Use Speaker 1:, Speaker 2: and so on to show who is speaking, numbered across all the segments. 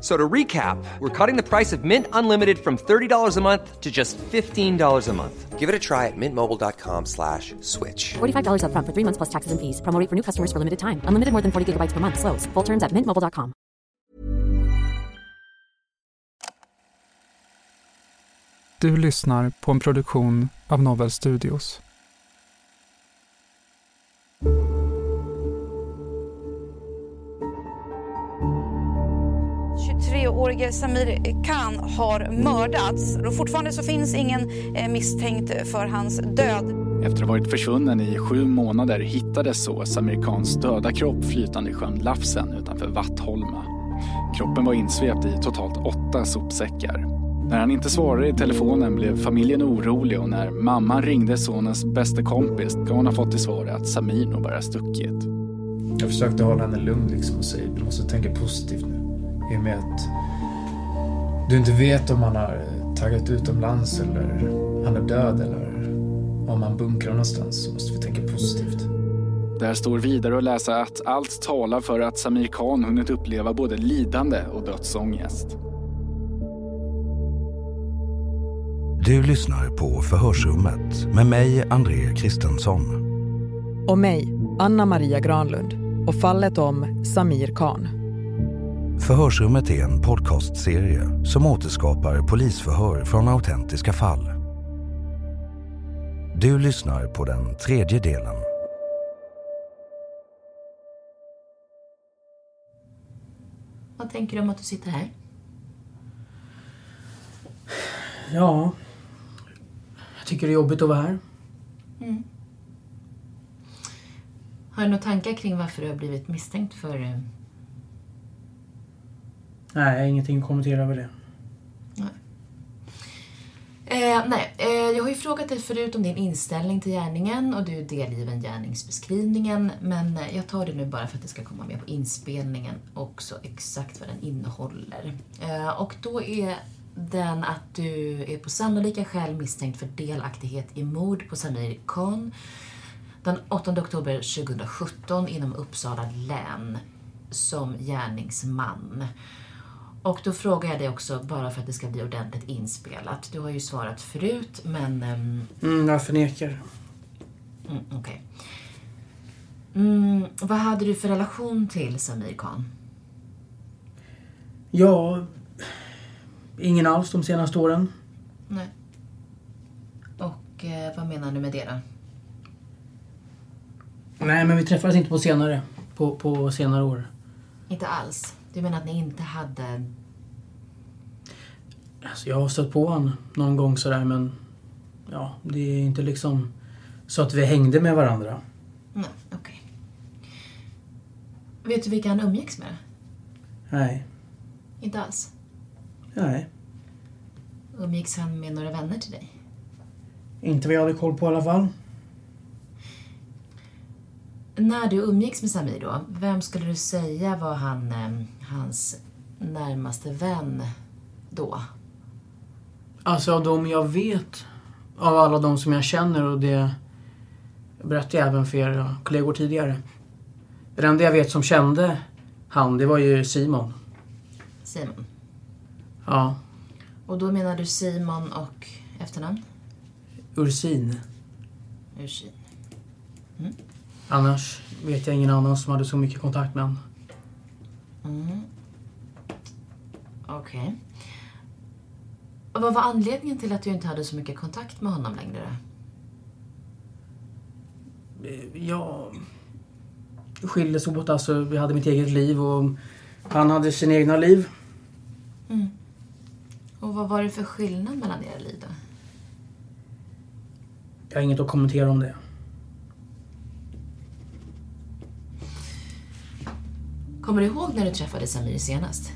Speaker 1: So to recap, we're cutting the price of Mint Unlimited from $30 a month to just $15 a month. Give it a try at mintmobile.com slash switch.
Speaker 2: $45 upfront for three months plus taxes and fees. Promo rate for new customers for limited time. Unlimited more than 40 gigabytes per month. Slows. Full terms at mintmobile.com.
Speaker 3: Du lyssnar på en produktion av Novel Studios.
Speaker 4: årige Samir Khan har mördats och fortfarande så finns ingen eh, misstänkt för hans död.
Speaker 5: Efter att ha varit försvunnen i sju månader hittades så Samir Khans döda kropp flytande i sjön Lafsen utanför Vattholma. Kroppen var insvept i totalt åtta sopsäckar. När han inte svarade i telefonen blev familjen orolig och när mamman ringde sonens bästa kompis gav hon ha fått till svar att Samir nog bara stuckit.
Speaker 6: Jag försökte hålla henne lugn liksom och säga du måste tänka positivt nu. I och med att du inte vet om han har tagit utomlands eller han är död eller om han bunkrar någonstans så måste vi tänka positivt.
Speaker 5: Där står vidare att läsa att allt talar för att Samir Khan hunnit uppleva både lidande och dödsångest.
Speaker 7: Du lyssnar på Förhörsrummet med mig, André Kristensson.
Speaker 8: Och mig, Anna Maria Granlund. Och fallet om Samir Khan.
Speaker 7: Förhörsrummet är en podcastserie som återskapar polisförhör från autentiska fall. Du lyssnar på den tredje delen.
Speaker 9: Vad tänker du om att du sitter här?
Speaker 10: Ja. Jag tycker det är jobbigt att vara här.
Speaker 9: Mm. Har du några tankar kring varför du har blivit misstänkt för... eh,
Speaker 10: Nej, jag har ingenting att kommentera över det.
Speaker 9: Eh, nej, eh, jag har ju frågat dig förut om din inställning till gärningen och du är delgiven gärningsbeskrivningen. Men eh, jag tar det nu bara för att det ska komma med på inspelningen också exakt vad den innehåller. Eh, och då är den att du är på sannolika skäl misstänkt för delaktighet i mord på Samir Khan den 8 oktober 2017 inom Uppsala län som gärningsman. Och då frågar jag dig också, bara för att det ska bli ordentligt inspelat. Du har ju svarat förut, men... ehm,
Speaker 10: Mm, jag förnekar.
Speaker 9: Mm, Okej. Mm, vad hade du för relation till Samir Khan?
Speaker 10: Ja, ingen alls de senaste åren.
Speaker 9: Nej. Och eh, vad menar du med det då?
Speaker 10: Nej, men vi träffades inte på senare. På, på senare år.
Speaker 9: Inte alls. Du menar att ni inte hade...
Speaker 10: Alltså, jag har stött på honom någon gång sådär, men ja, det är inte liksom så att vi hängde med varandra.
Speaker 9: Nej, okej. Vet du vilka han umgicks med?
Speaker 10: Nej,
Speaker 9: Inte alls.
Speaker 10: nej.
Speaker 9: Umgicks han med några vänner till dig?
Speaker 10: Inte vad jag hade koll på i alla fall.
Speaker 9: När du umgicks med Samir då, vem skulle du säga var han, eh, hans närmaste vän då?
Speaker 10: Alltså av de jag vet, av alla de som jag känner och det berättade jag även för era kollegor tidigare. Den enda jag vet som kände han, det var ju Simon.
Speaker 9: Simon.
Speaker 10: Ja.
Speaker 9: Och då menar du Simon och efternamn?
Speaker 10: Ursin.
Speaker 9: Ursin.
Speaker 10: Annars vet jag ingen annan som hade så mycket kontakt med honom.
Speaker 9: Mm. Okej. Och Vad var anledningen till att du inte hade så mycket kontakt med honom längre? då?
Speaker 10: Eh, Jag skildes åt. Alltså, vi hade mitt eget liv och han hade sina egna liv. Mm.
Speaker 9: Och vad var det för skillnad mellan era liv då?
Speaker 10: Jag har inget att kommentera om det.
Speaker 9: Kommer du ihåg när du träffade Samir senast?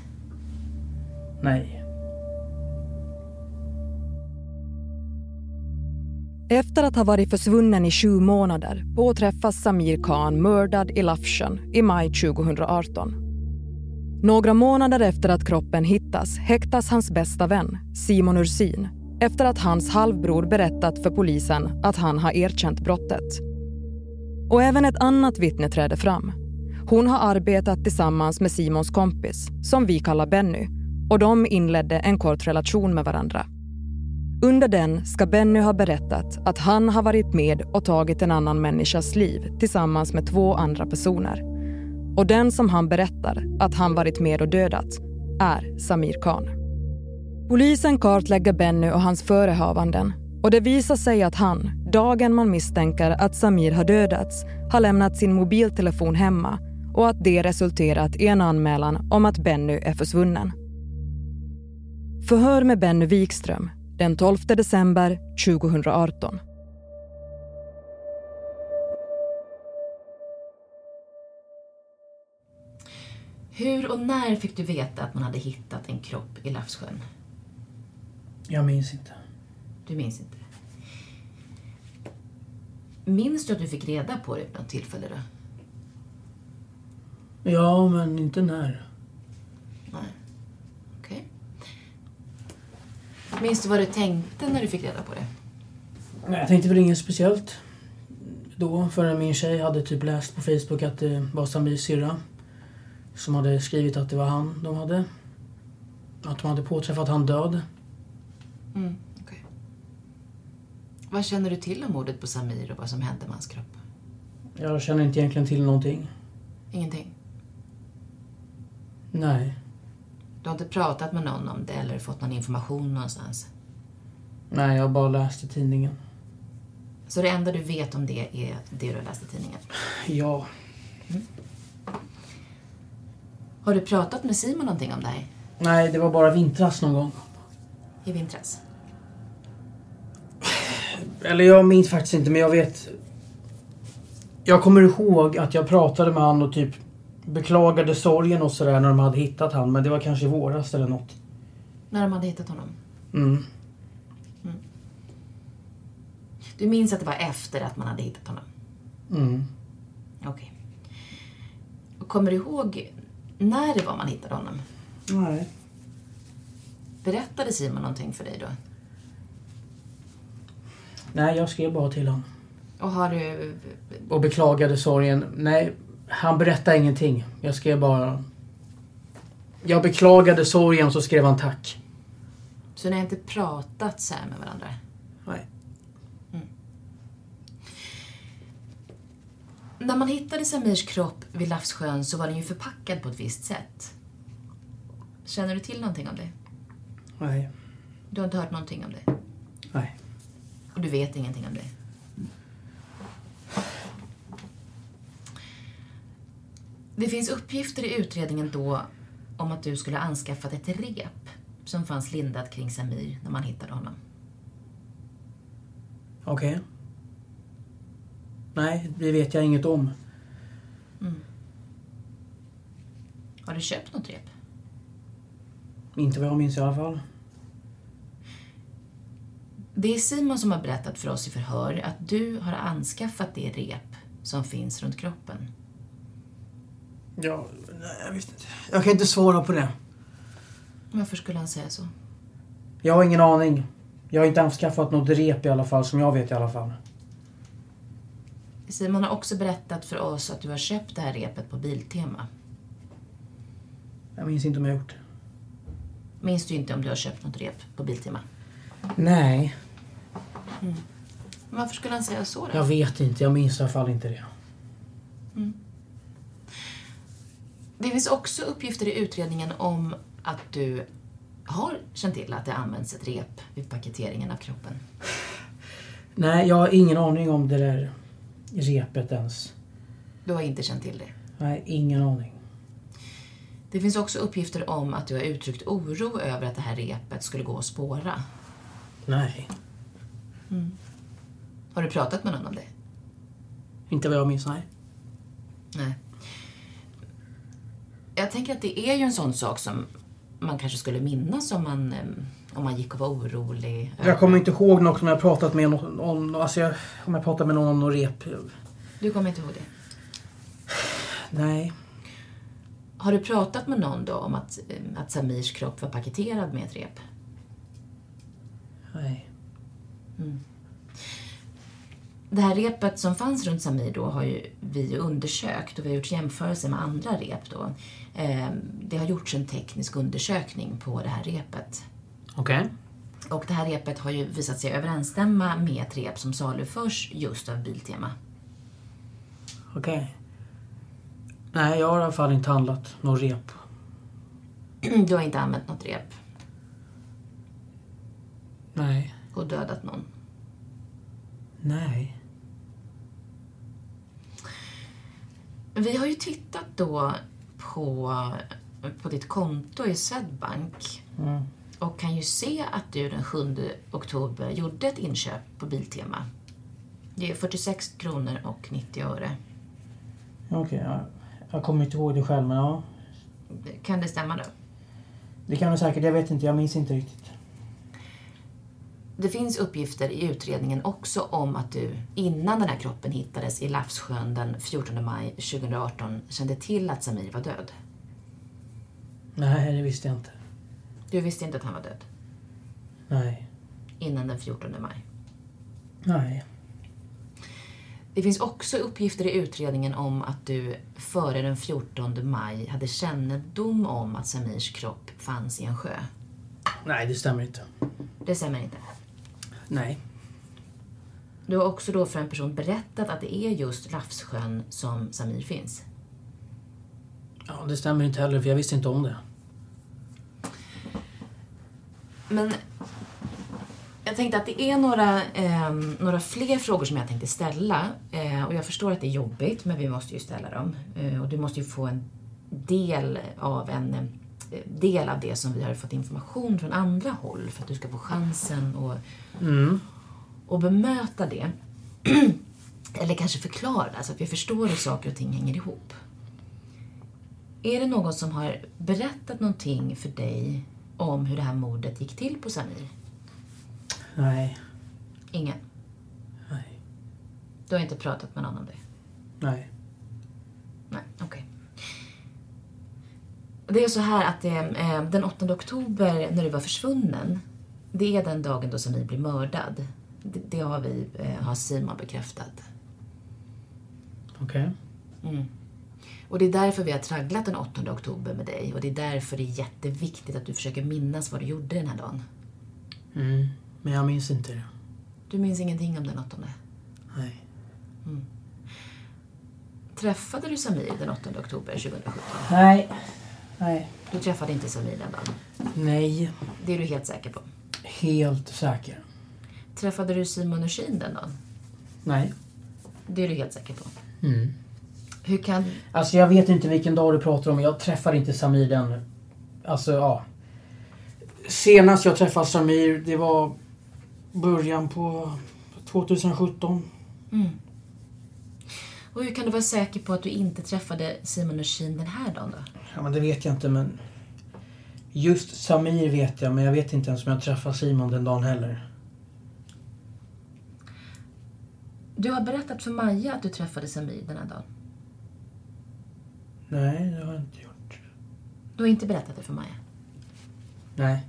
Speaker 10: Nej.
Speaker 8: Efter att ha varit försvunnen i sju månader påträffas Samir Khan mördad i Lafsjön i maj 2018. Några månader efter att kroppen hittas häktas hans bästa vän, Simon Ursin efter att hans halvbror berättat för polisen att han har erkänt brottet. Och även ett annat vittne träder fram. Hon har arbetat tillsammans med Simons kompis, som vi kallar Benny och de inledde en kort relation med varandra. Under den ska Benny ha berättat att han har varit med och tagit en annan människas liv tillsammans med två andra personer. Och den som han berättar att han varit med och dödat är Samir Khan. Polisen kartlägger Benny och hans förehavanden och det visar sig att han, dagen man misstänker att Samir har dödats, har lämnat sin mobiltelefon hemma och att det resulterat i en anmälan om att Benny är försvunnen. Förhör med Benny Wikström den 12 december 2018.
Speaker 9: Hur och när fick du veta att man hade hittat en kropp i Lafsjön?
Speaker 10: Jag minns inte.
Speaker 9: Du minns inte? Minns du att du fick reda på det vid något tillfälle då?
Speaker 10: Ja, men inte när.
Speaker 9: Nej. Okej. Minns du vad du tänkte när du fick reda på det?
Speaker 10: Nej, jag tänkte väl inget speciellt då förrän min tjej hade typ läst på Facebook att det var Samirs syrra som hade skrivit att det var han de hade. Att de hade påträffat han död.
Speaker 9: Mm, okej. Vad känner du till om mordet på Samir och vad som hände med hans kropp?
Speaker 10: Jag känner inte egentligen till någonting.
Speaker 9: Ingenting?
Speaker 10: Nej.
Speaker 9: Du har inte pratat med någon om det eller fått någon information någonstans?
Speaker 10: Nej, jag har bara läst i tidningen.
Speaker 9: Så det enda du vet om det är det du har läst i tidningen? Mm.
Speaker 10: Ja.
Speaker 9: Har du pratat med Simon någonting om det här?
Speaker 10: Nej, det var bara vintras någon gång.
Speaker 9: I vintras?
Speaker 10: Eller jag minns faktiskt inte, men jag vet... Jag kommer ihåg att jag pratade med han och typ beklagade sorgen och sådär när de hade hittat han, men det var kanske i våras eller något.
Speaker 9: När de hade hittat honom?
Speaker 10: Mm.
Speaker 9: Du minns att det var efter att man hade hittat honom?
Speaker 10: Mm.
Speaker 9: Okej. Och Kommer du ihåg när det var man hittade honom?
Speaker 10: Nej.
Speaker 9: Berättade Simon någonting för dig då?
Speaker 10: Nej, jag skrev bara till honom.
Speaker 9: Och har du...
Speaker 10: Och beklagade sorgen. Nej, han berättade ingenting. Jag skrev bara... Jag beklagade sorgen så skrev han tack.
Speaker 9: Så ni har inte pratat så här med varandra?
Speaker 10: Nej.
Speaker 9: Mm. När man hittade Samirs kropp vid Lafsjön så var den ju förpackad på ett visst sätt. Känner du till någonting om det?
Speaker 10: Nej.
Speaker 9: Du har inte hört någonting om det?
Speaker 10: Nej.
Speaker 9: Och du vet ingenting om det? Det finns uppgifter i utredningen då om att du skulle ha anskaffat ett rep som fanns lindat kring Samir när man hittade honom.
Speaker 10: Okej. Nej, det vet jag inget om.
Speaker 9: Mm. Har du köpt något rep?
Speaker 10: Inte vad jag minns i alla fall.
Speaker 9: Det är Simon som har berättat för oss i förhör att du har anskaffat det rep som finns runt kroppen.
Speaker 10: Ja, nej, jag visste inte. Jag kan inte svara på det.
Speaker 9: Varför skulle han säga så?
Speaker 10: Jag har ingen aning. Jag har inte anskaffat något rep i alla fall, som jag vet i alla fall.
Speaker 9: Simon har också berättat för oss att du har köpt det här repet på Biltema.
Speaker 10: Jag minns inte om jag gjort det.
Speaker 9: Minns du inte om du har köpt något rep på Biltema?
Speaker 10: Nej,
Speaker 9: Varför skulle han säga så då?
Speaker 10: jag vet inte. Jag minns i alla fall inte det.
Speaker 9: Mm. Det finns också uppgifter i utredningen om att du har känt till att det används ett rep vid paketeringen av kroppen.
Speaker 10: Nej, jag har ingen aning om det där repet ens.
Speaker 9: Du har inte känt till det.
Speaker 10: Nej, ingen aning.
Speaker 9: Det finns också uppgifter om att du har uttryckt oro över att det här repet skulle gå att spåra.
Speaker 10: Nej,
Speaker 9: Har du pratat med någon om det?
Speaker 10: inte vad jag minns. Nej.
Speaker 9: Nej. Jag tänker att det är ju en sån sak som man kanske skulle minnas om man, em, om man gick och var orolig.
Speaker 10: Jag kommer inte ihåg något om jag pratat med någon om, alltså jag, om jag pratat med någon om något rep.
Speaker 9: Du kommer inte ihåg det?
Speaker 10: Nej.
Speaker 9: Har du pratat med någon då om att, em, att Samirs kropp var paketerad med ett rep?
Speaker 10: Nej.
Speaker 9: Mm. Det här repet som fanns runt Samir då har ju vi undersökt och vi har gjort jämförelser med andra rep då. Em, Det har gjorts en teknisk undersökning på det här repet.
Speaker 10: Okej.
Speaker 9: Och det här repet har ju visat sig överensstämma med ett rep som saluförs just av Biltema.
Speaker 10: Okej. Nej, jag har i alla fall inte handlat något rep.
Speaker 9: Du har inte använt något rep
Speaker 10: Nej.
Speaker 9: och dödat någon.
Speaker 10: Nej.
Speaker 9: Vi har ju tittat då på, på ditt konto i Swedbank
Speaker 10: Mm.
Speaker 9: och kan ju se att du den 7 oktober gjorde ett inköp på Biltema. Det är 46 kronor och 90 öre.
Speaker 10: Okej, jag, jag kommer inte ihåg det själv men ja.
Speaker 9: Kan det stämma då?
Speaker 10: Det kan det säkert, jag vet inte, jag minns inte riktigt.
Speaker 9: Det finns uppgifter i utredningen också om att du innan den här kroppen hittades i Lafssjön den 14 maj 2018 kände till att Samir var död.
Speaker 10: Nej, det visste jag inte.
Speaker 9: Du visste inte att han var död
Speaker 10: Nej.
Speaker 9: innan den 14 maj.
Speaker 10: Nej.
Speaker 9: Det finns också uppgifter i utredningen om att du före den 14 maj hade kännedom om att Samirs kropp fanns i en sjö.
Speaker 10: Nej, det stämmer inte.
Speaker 9: Det stämmer inte.
Speaker 10: Nej.
Speaker 9: Du har också då för en person berättat att det är just Lafssjön som Samir finns.
Speaker 10: Ja, det stämmer inte heller för jag visste inte om det.
Speaker 9: Men jag tänkte att det är några, ehm, några fler frågor som jag tänkte ställa. Eh, och jag förstår att det är jobbigt, men vi måste ju ställa dem. Eh, och du måste ju få en del av en eh, del av det som vi har fått information från andra håll för att du ska få chansen och,
Speaker 10: Mm.
Speaker 9: och bemöta det. Eller kanske förklara det, så att vi förstår hur saker och ting hänger ihop. Är det någon som har berättat någonting för dig om hur det här mordet gick till på Samir?
Speaker 10: Nej.
Speaker 9: Ingen?
Speaker 10: Nej.
Speaker 9: Du har inte pratat med någon om det?
Speaker 10: Nej.
Speaker 9: Nej, okej. Det är så här att eh, eh, den 8 oktober när du var försvunnen, det är den dagen då Samir blir mördad. Det, det har vi, eh, har Simon bekräftat.
Speaker 10: Okej.
Speaker 9: Mm. Och det är därför vi har tragglat den 8 oktober med dig och det är därför det är jätteviktigt att du försöker minnas vad du gjorde den här dagen.
Speaker 10: Mm. Men jag minns inte det.
Speaker 9: Du minns ingenting om den 8?
Speaker 10: Nej.
Speaker 9: Mm. Träffade du Samir den 8 oktober 2017?
Speaker 10: Nej. Nej.
Speaker 9: Du träffade inte Samir den dagen?
Speaker 10: Nej.
Speaker 9: Det är du helt säker på?
Speaker 10: Helt säker.
Speaker 9: Träffade du Simon Ursin den dagen?
Speaker 10: Nej.
Speaker 9: Det är du helt säker på.
Speaker 10: Mm.
Speaker 9: Hur kan...
Speaker 10: Alltså jag vet inte vilken dag du pratar om. Jag träffar inte Samir den... Alltså ja. Senast jag träffade Samir det var början på 2017.
Speaker 9: Mm. Och hur kan du vara säker på att du inte träffade Simon Ursin den här dagen då?
Speaker 10: Ja men det vet jag inte men... Just Samir vet jag men jag vet inte ens om jag träffade Simon den dagen heller.
Speaker 9: Du har berättat för Maja att du träffade Samir den här dagen.
Speaker 10: Nej det har jag inte gjort.
Speaker 9: Du har inte berättat det för Maja.
Speaker 10: Nej.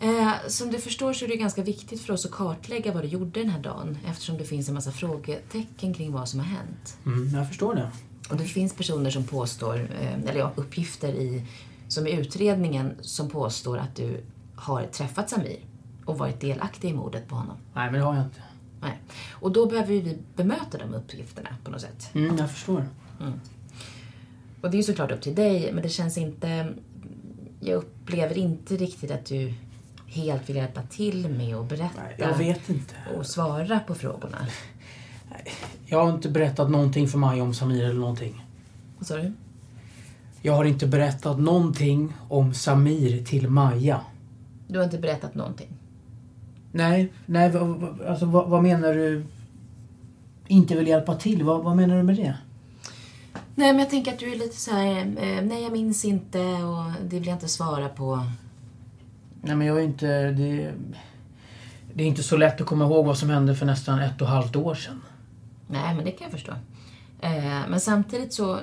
Speaker 9: Eh, som du förstår så är det ganska viktigt för oss att kartlägga vad du gjorde den här dagen eftersom det finns en massa frågetecken kring vad som har hänt.
Speaker 10: Mm, jag förstår det.
Speaker 9: Och det finns personer som påstår, eh, eller ja, uppgifter i, som i utredningen som påstår att du har träffat Samir och varit delaktig i mordet på honom.
Speaker 10: Nej, men det har jag inte.
Speaker 9: Nej. Och då behöver ju vi bemöta de uppgifterna på något sätt.
Speaker 10: Mm, jag förstår.
Speaker 9: Mm. Och det är ju såklart upp till dig, men det känns inte... Jag upplever inte riktigt att du helt vill hjälpa till med att berätta
Speaker 10: jag vet inte.
Speaker 9: och svara på frågorna.
Speaker 10: Jag har inte berättat någonting för Maja om Samir eller någonting.
Speaker 9: Vad sa du?
Speaker 10: Jag har inte berättat någonting om Samir till Maja.
Speaker 9: Du har inte berättat någonting.
Speaker 10: Nej, nej vad- vad- alltså, vad, vad menar du? Inte vill hjälpa till? Vad, vad menar du med det?
Speaker 9: Nej, men jag tänker att du är lite så här... eh, Nej, jag minns inte och det vill jag inte svara på.
Speaker 10: Nej, men jag är inte... Det, det är inte så lätt att komma ihåg vad som hände för nästan ett och ett halvt år sedan.
Speaker 9: Nej, men det kan jag förstå. Eh, Men samtidigt så,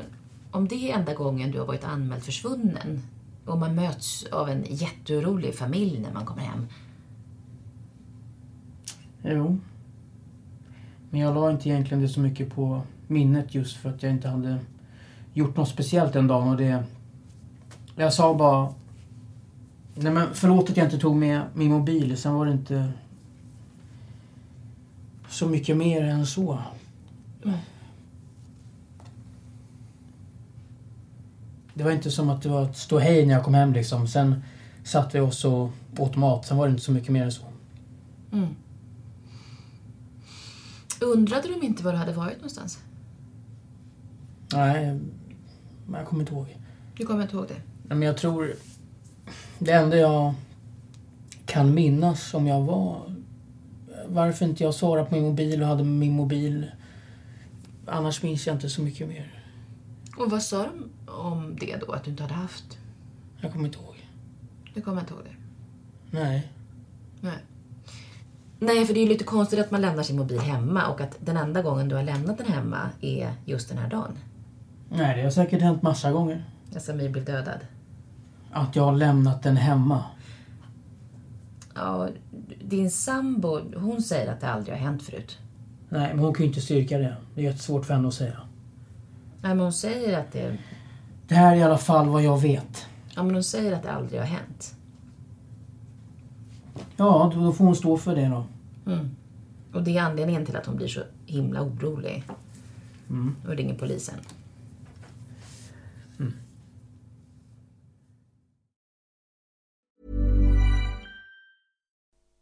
Speaker 9: om det är enda gången du har varit anmäld försvunnen och man möts av en jätteorolig familj när man kommer hem.
Speaker 10: Jo. Men jag la inte egentligen det så mycket på minnet just för att jag inte hade gjort något speciellt den dagen och det... Jag sa bara... Nej men förlåt att jag inte tog med min mobil, sen var det inte så mycket mer än så. Det var inte som att det var ett ståhej när jag kom hem liksom. Sen satt vi oss och åt mat, sen var det inte så mycket mer än så.
Speaker 9: Mm. Undrade de inte var du hade varit någonstans?
Speaker 10: Nej, men jag kommer inte ihåg.
Speaker 9: Du kommer inte ihåg det?
Speaker 10: Nej, men jag tror... Det enda jag kan minnas om jag var... Varför inte jag svarade på min mobil och hade min mobil. Annars minns jag inte så mycket mer.
Speaker 9: Och vad sa de om det då, att du inte hade haft?
Speaker 10: Jag kommer inte ihåg.
Speaker 9: Du kommer inte ihåg det?
Speaker 10: Nej.
Speaker 9: Nej. Nej, för det är ju lite konstigt att man lämnar sin mobil hemma och att den enda gången du har lämnat den hemma är just den här dagen.
Speaker 10: Nej, det har säkert hänt massa gånger.
Speaker 9: När Samir blev dödad.
Speaker 10: Att jag har lämnat den hemma.
Speaker 9: Ja, din sambo, hon säger att det aldrig har hänt förut.
Speaker 10: Nej, men hon kan ju inte styrka det. Det är jättesvårt för henne att säga.
Speaker 9: Nej, men hon säger att det...
Speaker 10: Det här är i alla fall vad jag vet.
Speaker 9: Ja, men hon säger att det aldrig har hänt.
Speaker 10: Ja, då då får hon stå för det då.
Speaker 9: Mm. Och det är anledningen till att hon blir så himla orolig
Speaker 10: Mm.
Speaker 9: och ringer polisen.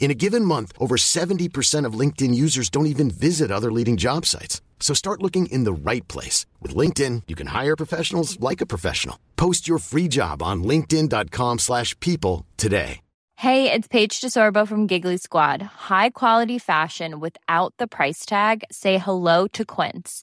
Speaker 11: In a given month, over 70% of LinkedIn users don't even visit other leading job sites. So start looking in the right place. With LinkedIn, you can hire professionals like a professional. Post your free job on linkedin.com/people slash people today.
Speaker 12: Hey, it's Paige DeSorbo from Giggly Squad. High quality fashion without the price tag. Say hello to Quince.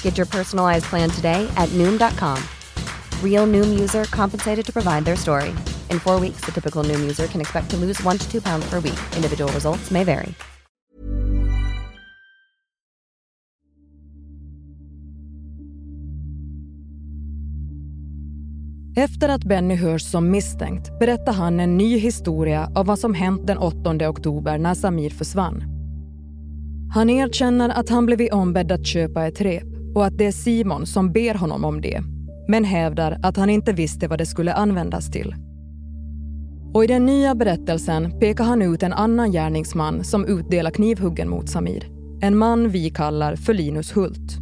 Speaker 13: Get your personalized plan today at Noom.com. Real Noom user compensated to provide their story. In four weeks, the typical Noom user can expect to lose one to two pounds per week. Individual results may vary.
Speaker 8: Efter att Benny hörs som misstänkt berättar han en ny historia av vad som hänt den 8 oktober när Samir försvann. Han erkänner att han blivit ombedd att köpa ett rep och att det är Simon som ber honom om det men hävdar att han inte visste vad det skulle användas till. Och i den nya berättelsen pekar han ut en annan gärningsman som utdelar knivhuggen mot Samir. En man vi kallar för Linus Hult.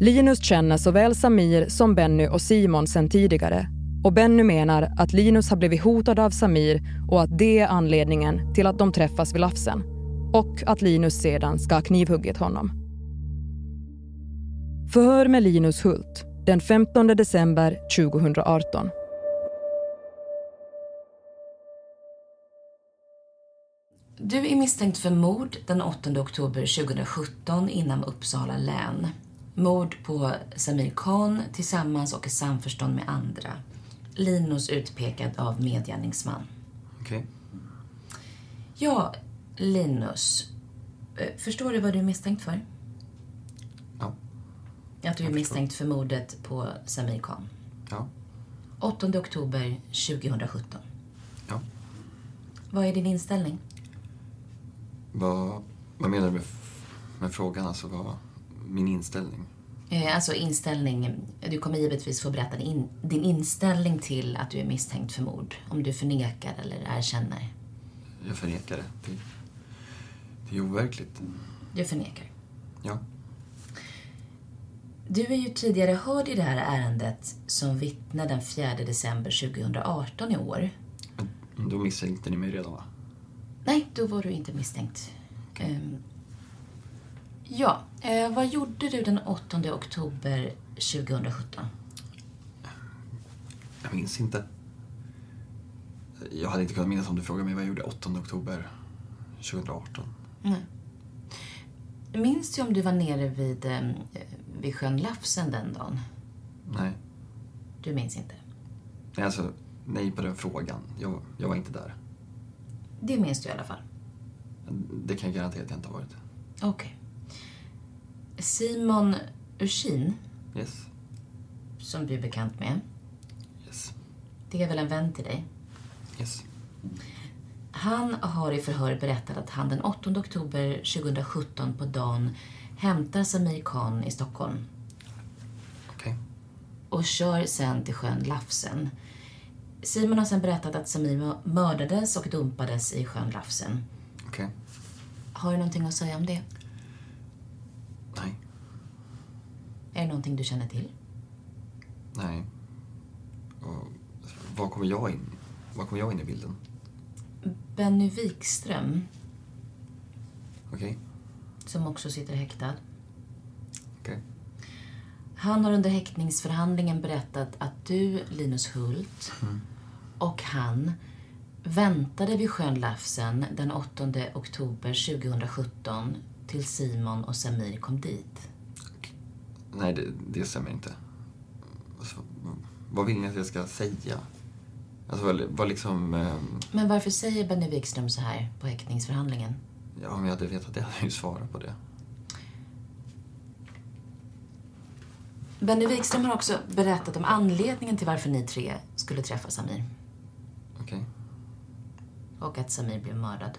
Speaker 8: Linus känner såväl Samir som Benny och Simon sedan tidigare och Benny menar att Linus har blivit hotad av Samir och att det är anledningen till att de träffas vid Lafsen och att Linus sedan ska ha knivhuggit honom. Förhör med Linus Hult den 15 december 2018.
Speaker 9: Du är misstänkt för mord den 8 oktober 2017 inom Uppsala län. Mord på Samir Khan tillsammans och i samförstånd med andra. Linus utpekad av medgärningsman.
Speaker 14: Okej.
Speaker 9: Ja, Linus. eh, Förstår du vad du är misstänkt för?
Speaker 14: Ja.
Speaker 9: Att du är misstänkt för mordet på Samir Khan.
Speaker 14: Ja.
Speaker 9: 8 oktober 2017.
Speaker 14: Ja.
Speaker 9: Vad är din inställning?
Speaker 14: Vad, vad menar du med, f- med frågan? Alltså vad, min inställning?
Speaker 9: Eh, Alltså inställning. Du kommer givetvis få berätta din, din inställning till att du är misstänkt för mord. Om du förnekar eller erkänner.
Speaker 14: Jag förnekar det. Det, det är overkligt.
Speaker 9: Du förnekar.
Speaker 14: Ja.
Speaker 9: Du är ju tidigare hörd i det här ärendet som vittne den 4 december 2018 i år.
Speaker 14: Då misstänkte ni mig redan va?
Speaker 9: Nej, då var du inte misstänkt. Ehm, ja, eh, vad gjorde du den 8 oktober 2017?
Speaker 14: Jag minns inte. Jag hade inte kunnat minnas om du frågade mig vad jag gjorde 8 oktober 2018.
Speaker 9: Nej. Minns du om du var nere vid, eh, vid sjön Lafsen den dagen?
Speaker 14: Nej.
Speaker 9: Du minns inte?
Speaker 14: Nej, alltså, nej på den frågan. Jag, jag var inte där.
Speaker 9: Det minns du i alla fall.
Speaker 14: Det kan jag garantera att jag inte har varit.
Speaker 9: Okej. Simon Ursin,
Speaker 14: Yes.
Speaker 9: som du är bekant med.
Speaker 14: Yes.
Speaker 9: Det är väl en vän till dig?
Speaker 14: Yes.
Speaker 9: Han har i förhör berättat att han den 8 oktober 2017 på dagen hämtar Samir Khan i Stockholm.
Speaker 14: Okej.
Speaker 9: Och kör sen till sjön Lafsen. Simon har sen berättat att Samir mördades och dumpades i sjön Lafsen.
Speaker 14: Okej.
Speaker 9: Har du någonting att säga om det?
Speaker 14: Nej.
Speaker 9: Är det någonting du känner till?
Speaker 14: Nej. Och, var kommer jag in? Var kommer jag in i bilden?
Speaker 9: Benny Wikström,
Speaker 14: Okej?
Speaker 9: som också sitter häktad.
Speaker 14: Okej.
Speaker 9: Han har under häktningsförhandlingen berättat att du, Linus Hult, och han väntade vid sjön Lafsen den 8 oktober 2017 till Simon och Samir kom dit.
Speaker 14: Nej, det, det stämmer inte. Alltså, Vad vill ni att jag ska säga? Alltså vad, vad liksom... ehm,
Speaker 9: Men varför säger Benny Wikström så här på häktningsförhandlingen?
Speaker 14: ja, om jag hade vetat det hade jag ju svarat på det.
Speaker 9: Benny Wikström har också berättat om anledningen till varför ni tre skulle träffa Samir.
Speaker 14: Okej.
Speaker 9: Och att Samir blev mördad.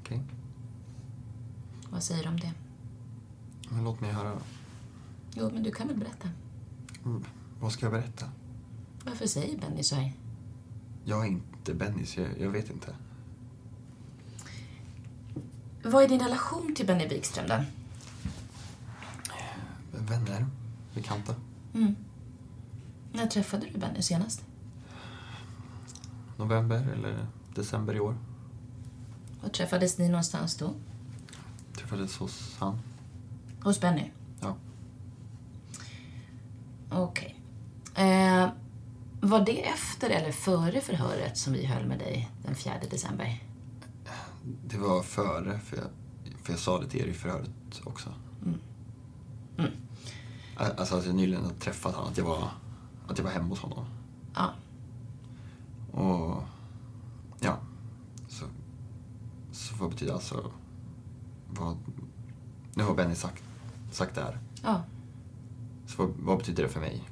Speaker 14: Okej.
Speaker 9: Vad säger du om det?
Speaker 14: Men låt mig höra då.
Speaker 9: Jo, men du kan väl berätta.
Speaker 14: Mm, Vad ska jag berätta?
Speaker 9: Varför säger Benny så här?
Speaker 14: Jag är inte Benny, så jag, jag vet inte.
Speaker 9: Vad är din relation till Benny Wikström då?
Speaker 14: Vänner? Bekanta?
Speaker 9: Mm. När träffade du Benny senast?
Speaker 14: November eller december i år?
Speaker 9: Och träffades ni någonstans då?
Speaker 14: Träffades hos han.
Speaker 9: Hos Benny?
Speaker 14: Ja.
Speaker 9: Okej. Eh, var det efter eller före förhöret som vi höll med dig den 4 december?
Speaker 14: Det var före, för jag, för jag sa det till er i förhöret också.
Speaker 9: Mm.
Speaker 14: Mm. Ä- Alltså att jag nyligen hade träffat honom, att jag var, att jag var hemma hos honom.
Speaker 9: Ja.
Speaker 14: Och ja, så, så vad betyder alltså vad, nu har Benny sagt, sagt det här.
Speaker 9: Ja.
Speaker 14: Så vad, vad betyder det för mig?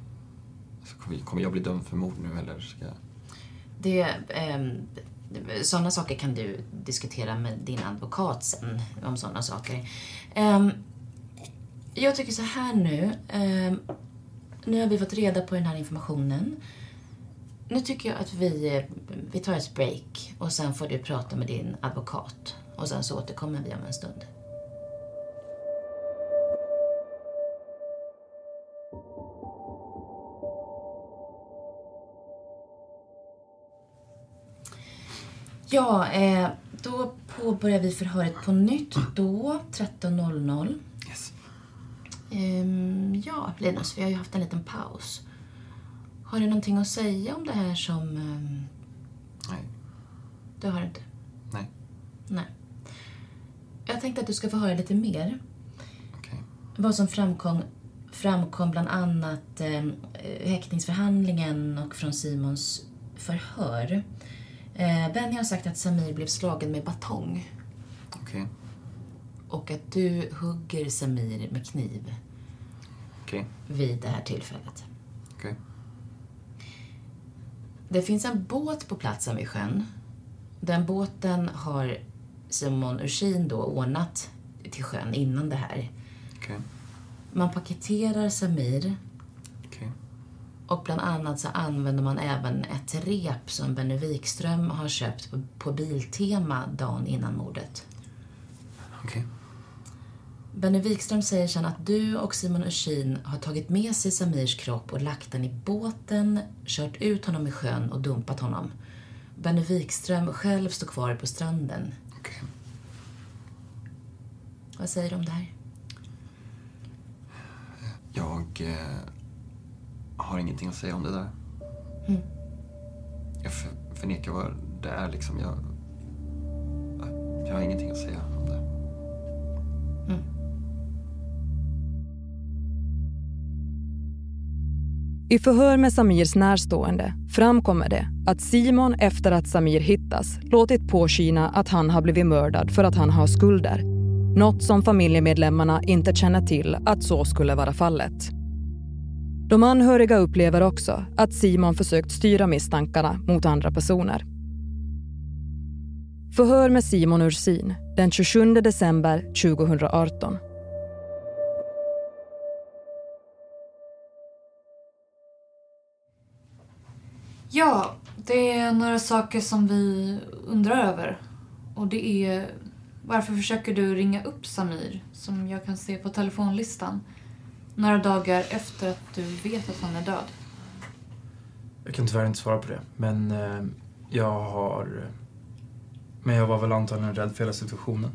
Speaker 14: Alltså, kommer, kommer jag bli dömd för mord nu eller ska jag?
Speaker 9: Det, ehm, sådana saker kan du diskutera med din advokat sen, om sådana saker. Ehm, jag tycker så här nu. ehm, nu har vi fått reda på den här informationen. Nu tycker jag att vi, eh, vi tar ett break och sen får du prata med din advokat. Och sen så återkommer vi om en stund. Ja, eh, då påbörjar vi förhöret på nytt då, 13.00.
Speaker 14: Yes.
Speaker 9: Ehm, ja, Linus, vi har ju haft en liten paus. Har du någonting att säga om det här som... ehm,
Speaker 14: Nej.
Speaker 9: Du har inte?
Speaker 14: Nej.
Speaker 9: Nej. Jag tänkte att du ska få höra lite mer. Vad som framkom, framkom bland annat eh, häktningsförhandlingen och från Simons förhör. Eh, Benny har sagt att Samir blev slagen med batong
Speaker 14: Okej,
Speaker 9: och att du hugger Samir med kniv
Speaker 14: okej,
Speaker 9: vid det här tillfället.
Speaker 14: okej.
Speaker 9: Det finns en båt på platsen vid sjön. Den båten har Simon Ursin då ordnat till sjön innan det här.
Speaker 14: Okej.
Speaker 9: Man paketerar Samir.
Speaker 14: Okej.
Speaker 9: Och bland annat så använder man även ett rep som Benny Wikström har köpt på, på Biltema dagen innan mordet.
Speaker 14: Okej.
Speaker 9: Benny Wikström säger sen att du och Simon Ursin har tagit med sig Samirs kropp och lagt den i båten, kört ut honom i sjön och dumpat honom. Benny Wikström själv står kvar på stranden. Vad säger du om det här?
Speaker 14: Jag eh, har ingenting att säga om det där.
Speaker 9: Mm.
Speaker 14: Jag för, förnekar vad det är liksom. Jag, jag har ingenting att säga om det.
Speaker 8: I förhör med Samirs närstående framkommer det att Simon efter att Samir hittas låtit påskina att han har blivit mördad för att han har skulder. Något som familjemedlemmarna inte känner till att så skulle vara fallet. De anhöriga upplever också att Simon försökt styra misstankarna mot andra personer. Förhör med Simon Ursin den 27 december 2018.
Speaker 15: Ja, det är några saker som vi undrar över. Och det är varför försöker du ringa upp Samir, som jag kan se på telefonlistan, några dagar efter att du vet att han är död?
Speaker 6: Jag kan tyvärr inte svara på det, men eh, jag har... Men jag var väl antagligen rädd för hela situationen.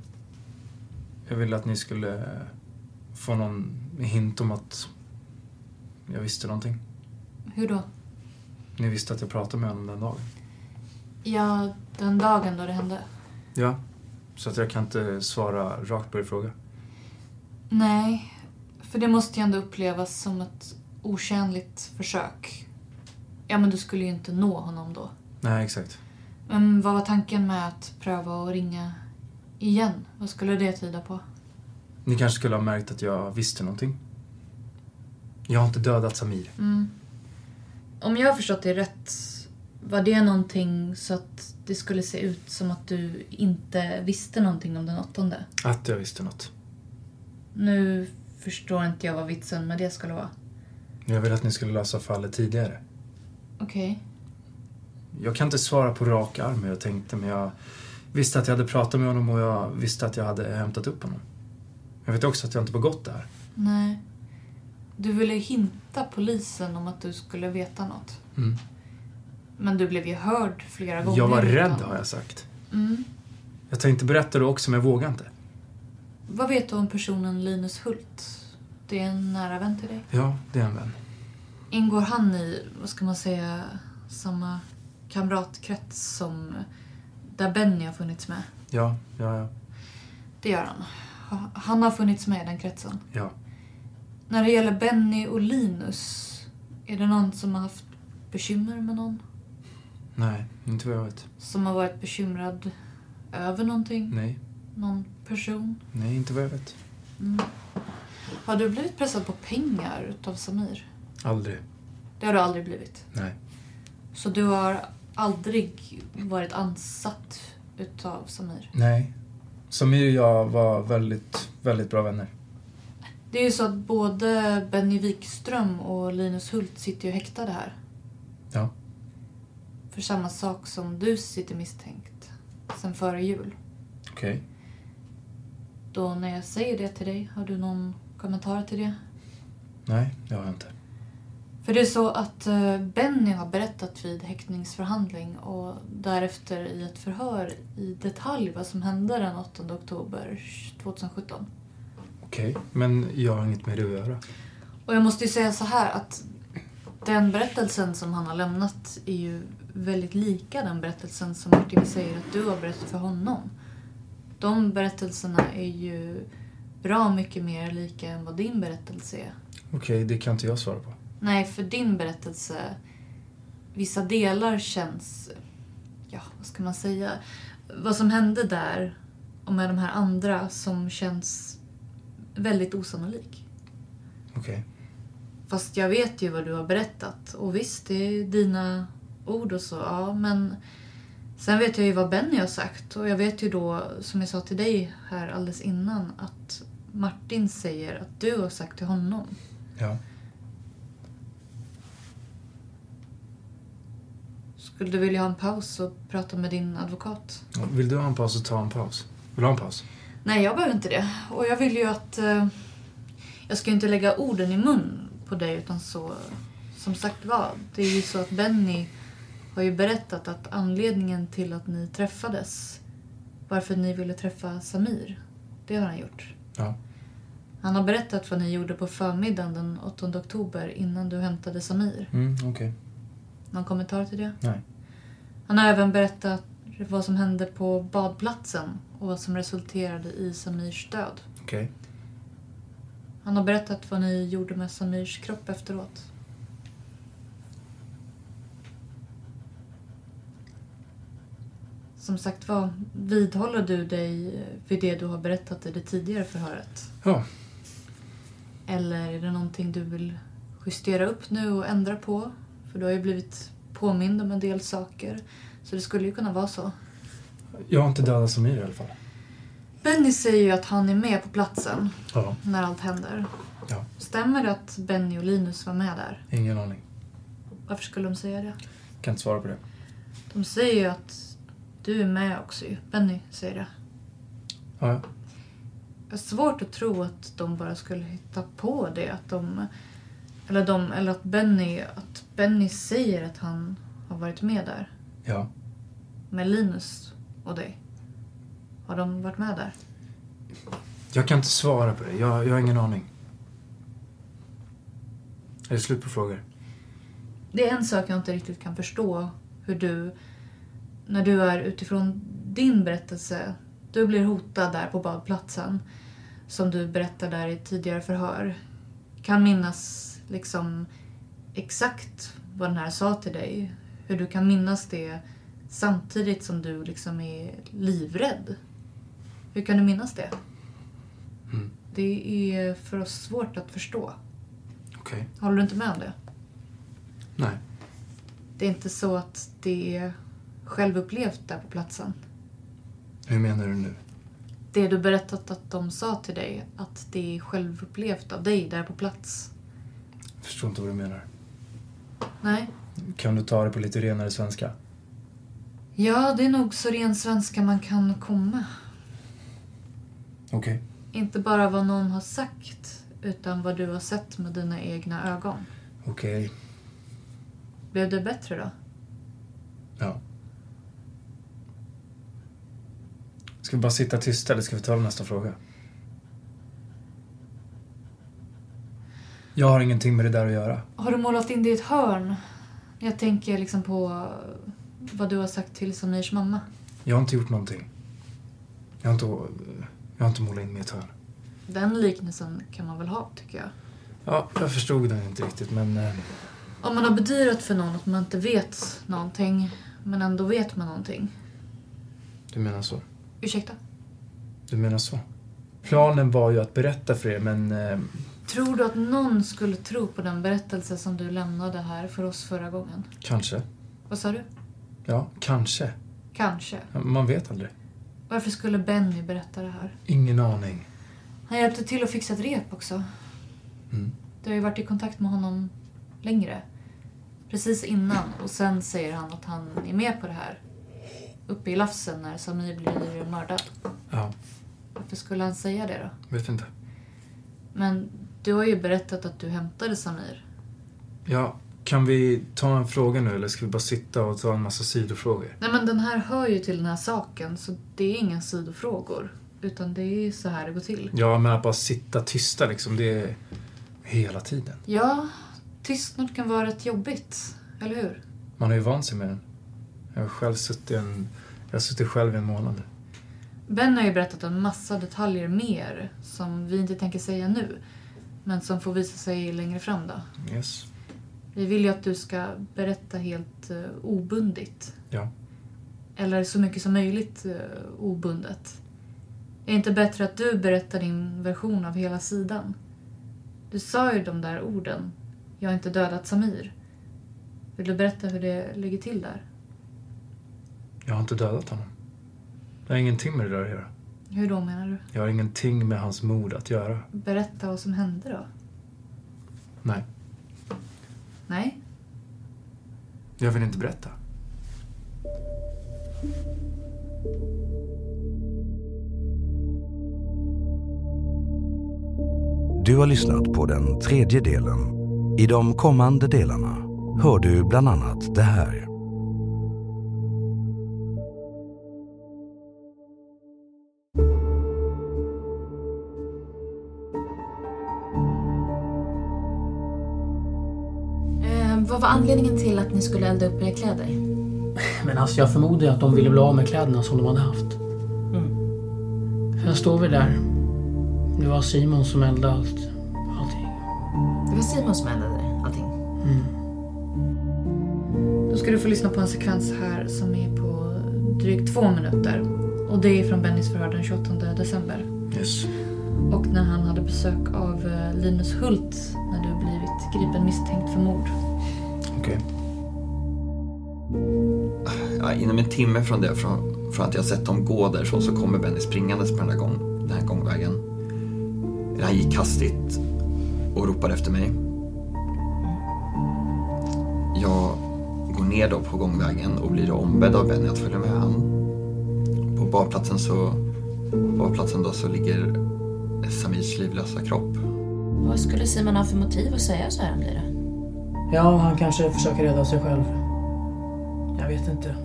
Speaker 6: Jag ville att ni skulle få någon hint om att jag visste någonting.
Speaker 15: Hur då?
Speaker 6: Ni visste att jag pratade med honom den dagen.
Speaker 15: Ja, den dagen då det hände.
Speaker 6: Ja, så att jag kan inte svara rakt på er fråga.
Speaker 15: Nej, för det måste ju ändå upplevas som ett otjänligt försök Ja, men du skulle ju inte nå honom då.
Speaker 6: Nej, exakt.
Speaker 15: Men vad var tanken med att pröva att ringa igen? Vad skulle det tyda på?
Speaker 6: Ni kanske skulle ha märkt att jag visste någonting? Jag har inte dödat Samir.
Speaker 15: Mm. Om jag har förstått det rätt, var det någonting så att det skulle se ut som att du inte visste någonting om den åttonde?
Speaker 6: Att jag visste något.
Speaker 15: Nu förstår inte jag vad vitsen med det skulle vara.
Speaker 6: Jag ville att ni skulle lösa fallet tidigare.
Speaker 15: Okej.
Speaker 6: Jag kan inte svara på rak arm hur jag tänkte men jag visste att jag hade pratat med honom och jag visste att jag hade hämtat upp honom. Jag vet också att jag inte begått det här.
Speaker 15: Nej. Du ville hinta polisen om att du skulle veta något.
Speaker 6: Mm.
Speaker 15: Men du blev ju hörd flera gånger.
Speaker 6: Jag var
Speaker 15: utan-
Speaker 6: rädd har jag sagt.
Speaker 15: Mm.
Speaker 6: Jag tänkte berätta det också men jag vågade inte.
Speaker 15: Vad vet du om personen Linus Hult? Det är en nära vän till dig.
Speaker 6: Ja, det är en vän.
Speaker 15: Ingår han i, vad ska man säga, samma kamratkrets som där Benny har funnits med?
Speaker 6: Ja, ja, ja.
Speaker 15: Det gör han. Ha- Han har funnits med i den kretsen.
Speaker 6: ja.
Speaker 15: När det gäller Benny och Linus, är det någon som har haft bekymmer med någon?
Speaker 6: Nej, inte vad jag vet.
Speaker 15: Som har varit bekymrad över någonting?
Speaker 6: Nej,
Speaker 15: Någon person?
Speaker 6: nej, inte vad jag vet.
Speaker 15: Mm. Har du blivit pressad på pengar utav Samir?
Speaker 6: Aldrig.
Speaker 15: Det har du aldrig blivit.
Speaker 6: Nej.
Speaker 15: Så du har aldrig varit ansatt utav Samir?
Speaker 6: Nej. Samir och jag var väldigt, väldigt bra vänner.
Speaker 15: Det är ju så att både Benny Wikström och Linus Hult sitter ju häktade här.
Speaker 6: Ja.
Speaker 15: För samma sak som du sitter misstänkt. Sen före jul.
Speaker 6: Okej.
Speaker 15: Då när jag säger det till dig, har du någon kommentar till det?
Speaker 6: Nej, det har jag inte.
Speaker 15: För det är så att eh, Benny har berättat vid häktningsförhandling och därefter i ett förhör i detalj vad som hände den 8 oktober 2017.
Speaker 6: Okej, men jag har inget med det att göra.
Speaker 15: Och jag måste ju säga så här att den berättelsen som han har lämnat är ju väldigt lika den berättelsen som Martin säger att du har berättat för honom. De berättelserna är ju bra mycket mer lika än vad din berättelse är.
Speaker 6: Okej, det kan inte jag svara på.
Speaker 15: Nej, för din berättelse, vissa delar känns, ja vad ska man säga, vad som hände där och med de här andra som känns väldigt osannolik.
Speaker 6: Okej.
Speaker 15: Fast jag vet ju vad du har berättat och visst, det är dina ord och så, ja men sen vet jag ju vad Benny har sagt och jag vet ju då, som jag sa till dig här alldeles innan, att Martin säger att du har sagt till honom.
Speaker 6: Ja.
Speaker 15: Skulle du vilja ha en paus och prata med din advokat?
Speaker 6: Vill du ha en paus så ta en paus. Vill du ha en paus?
Speaker 15: Nej, jag behöver inte det. Och jag vill ju att... Eh, jag ska ju inte lägga orden i mun på dig utan så... Som sagt var, det är ju så att Benny har ju berättat att anledningen till att ni träffades, varför ni ville träffa Samir, det har han gjort.
Speaker 6: Ja.
Speaker 15: Han har berättat vad ni gjorde på förmiddagen den 8 oktober innan du hämtade Samir.
Speaker 6: Mm, okej.
Speaker 15: Någon kommentar till det?
Speaker 6: Nej.
Speaker 15: Han har även berättat vad som hände på badplatsen och vad som resulterade i Samirs död.
Speaker 6: Okej.
Speaker 15: Han har berättat vad ni gjorde med Samirs kropp efteråt. Som sagt var, vidhåller du dig vid det du har berättat i det tidigare förhöret?
Speaker 6: Ja.
Speaker 15: Eller är det någonting du vill justera upp nu och ändra på? För du har ju blivit påmind om en del saker. Så det skulle ju kunna vara så.
Speaker 6: Jag har inte dödat Samir i alla fall.
Speaker 15: Benny säger ju att han är med på platsen
Speaker 6: Ja.
Speaker 15: när allt händer.
Speaker 6: Ja.
Speaker 15: Stämmer det att Benny och Linus var med där?
Speaker 6: Ingen aning.
Speaker 15: Varför skulle de säga det?
Speaker 6: Kan inte svara på det.
Speaker 15: De säger ju att du är med också ju. Benny säger det.
Speaker 6: Ja, ja.
Speaker 15: Jag har svårt att tro att de bara skulle hitta på det. Att de, eller, de, eller att, Benny, att Benny säger att han har varit med där.
Speaker 6: Ja.
Speaker 15: Med Linus och dig. Har de varit med där?
Speaker 6: Jag kan inte svara på det. Jag, jag har ingen aning. Är det slut på frågor?
Speaker 15: Det är en sak jag inte riktigt kan förstå. Hur du, när du är utifrån din berättelse, du blir hotad där på badplatsen. Som du berättar där i ett tidigare förhör. Kan minnas liksom exakt vad den här sa till dig. Hur du kan minnas det samtidigt som du liksom är livrädd. Hur kan du minnas det?
Speaker 14: Mm.
Speaker 15: Det är för oss svårt att förstå.
Speaker 14: Okej.
Speaker 15: Håller du inte med om det?
Speaker 14: Nej.
Speaker 15: Det är inte så att det är självupplevt där på platsen.
Speaker 14: Hur menar du nu?
Speaker 15: Det du berättat att de sa till dig, att det är självupplevt av dig där på plats.
Speaker 14: Jag förstår inte vad du menar.
Speaker 15: Nej.
Speaker 6: Kan du ta det på lite renare svenska?
Speaker 15: Ja, det är nog så ren svenska man kan komma.
Speaker 14: Okej.
Speaker 15: Inte bara vad någon har sagt, utan vad du har sett med dina egna ögon.
Speaker 14: Okej.
Speaker 15: Blev det bättre då?
Speaker 14: Ja.
Speaker 6: Ska vi bara sitta tysta eller ska vi ta nästa fråga? Jag har ingenting med det där att göra.
Speaker 15: Har du målat in det i ett hörn? Jag tänker liksom på vad du har sagt till Samirs mamma.
Speaker 6: Jag har inte gjort någonting. Jag har inte, jag har inte målat in mig i ett hörn.
Speaker 15: Den liknelsen kan man väl ha, tycker jag.
Speaker 6: Ja, jag förstod den inte riktigt men... eh,
Speaker 15: Om man har bedyrat för någon att man inte vet någonting, men ändå vet man någonting.
Speaker 6: Du menar så?
Speaker 15: Ursäkta?
Speaker 6: Du menar så? Planen var ju att berätta för er men... eh,
Speaker 15: Tror du att någon skulle tro på den berättelse som du lämnade här för oss förra gången?
Speaker 6: Kanske.
Speaker 15: Vad sa du?
Speaker 6: Ja, kanske.
Speaker 15: Kanske.
Speaker 6: Man vet aldrig.
Speaker 15: Varför skulle Benny berätta det här?
Speaker 6: Ingen aning.
Speaker 15: Han hjälpte till att fixa ett rep också.
Speaker 6: Mm.
Speaker 15: Du har ju varit i kontakt med honom längre. Precis innan. Och sen säger han att han är med på det här. Uppe i Lafsen när Samir blir mördad.
Speaker 6: Ja,
Speaker 15: Varför skulle han säga det då?
Speaker 6: vet inte.
Speaker 15: Men du har ju berättat att du hämtade Samir.
Speaker 6: Ja, kan vi ta en fråga nu eller ska vi bara sitta och ta en massa sidofrågor?
Speaker 15: Nej men den här hör ju till den här saken så det är inga sidofrågor. Utan det är så här det går till.
Speaker 6: Ja, men att bara sitta tysta liksom, det är hela tiden.
Speaker 15: Ja, tystnad kan vara rätt jobbigt. Eller hur?
Speaker 6: Man har ju vant sig med den. Jag har själv suttit, en, jag har suttit själv i en månad.
Speaker 15: Ben har ju berättat en massa detaljer mer som vi inte tänker säga nu. Men som får visa sig längre fram då.
Speaker 6: Yes.
Speaker 15: Vi vill ju att du ska berätta helt eh, obundigt.
Speaker 6: Ja.
Speaker 15: Eller så mycket som möjligt eh, obundet. Är det inte bättre att du berättar din version av hela sidan? Du sa ju de där orden. Jag har inte dödat Samir. Vill du berätta hur det ligger till där?
Speaker 6: Jag har inte dödat honom. Jag har ingenting med det där att göra.
Speaker 15: Hur då menar du?
Speaker 6: Jag har ingenting med hans mord att göra.
Speaker 15: Berätta vad som hände då?
Speaker 6: Nej,
Speaker 15: Nej?
Speaker 6: jag vill inte berätta.
Speaker 7: Du har lyssnat på den tredje delen. I de kommande delarna hör du bland annat det här.
Speaker 9: Eh, vad var anledningen till att ni skulle elda upp era kläder?
Speaker 10: Men alltså jag förmodar ju att de ville bli av med kläderna som de hade haft. Sen står vi där. Det var Simon som eldade allt.
Speaker 9: Det var Simon som eldade allting.
Speaker 10: Mm.
Speaker 15: Då ska du få lyssna på en sekvens här som är på drygt två minuter. Och det är från Bennys förhör den 28 december.
Speaker 6: Yes.
Speaker 15: Och när han hade besök av eh, Linus Hult när du blivit gripen misstänkt för mord.
Speaker 6: Okej.
Speaker 14: Ja, inom en timme från det, från, från att jag sett dem gå därifrån så kommer Benny springandes på den här, gång, den här gångvägen. Eller Han gick hastigt och ropade efter mig. Jag går ner då på gångvägen och blir då ombedd av Benny att följa med han. På badplatsen så, på badplatsen då så ligger Samirs livlösa kropp.
Speaker 9: Vad skulle Simon ha för motiv att säga så här om dig då?
Speaker 10: Ja, han kanske försöker rädda sig själv. Jag vet inte.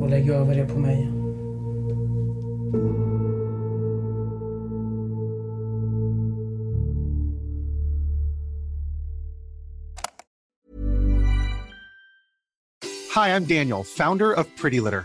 Speaker 10: Och lägger över det på mig.
Speaker 16: Hi, I'm Daniel, founder of Pretty Litter.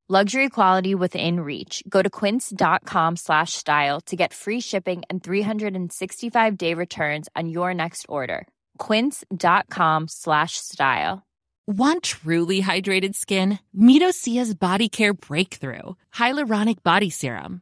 Speaker 12: Luxury quality within reach. Go to quince.com slash style to get free shipping and 365 day returns on your next order. Quince.com slash style.
Speaker 17: Want truly hydrated skin? Meet Osea's Body Care Breakthrough Hyaluronic Body Serum.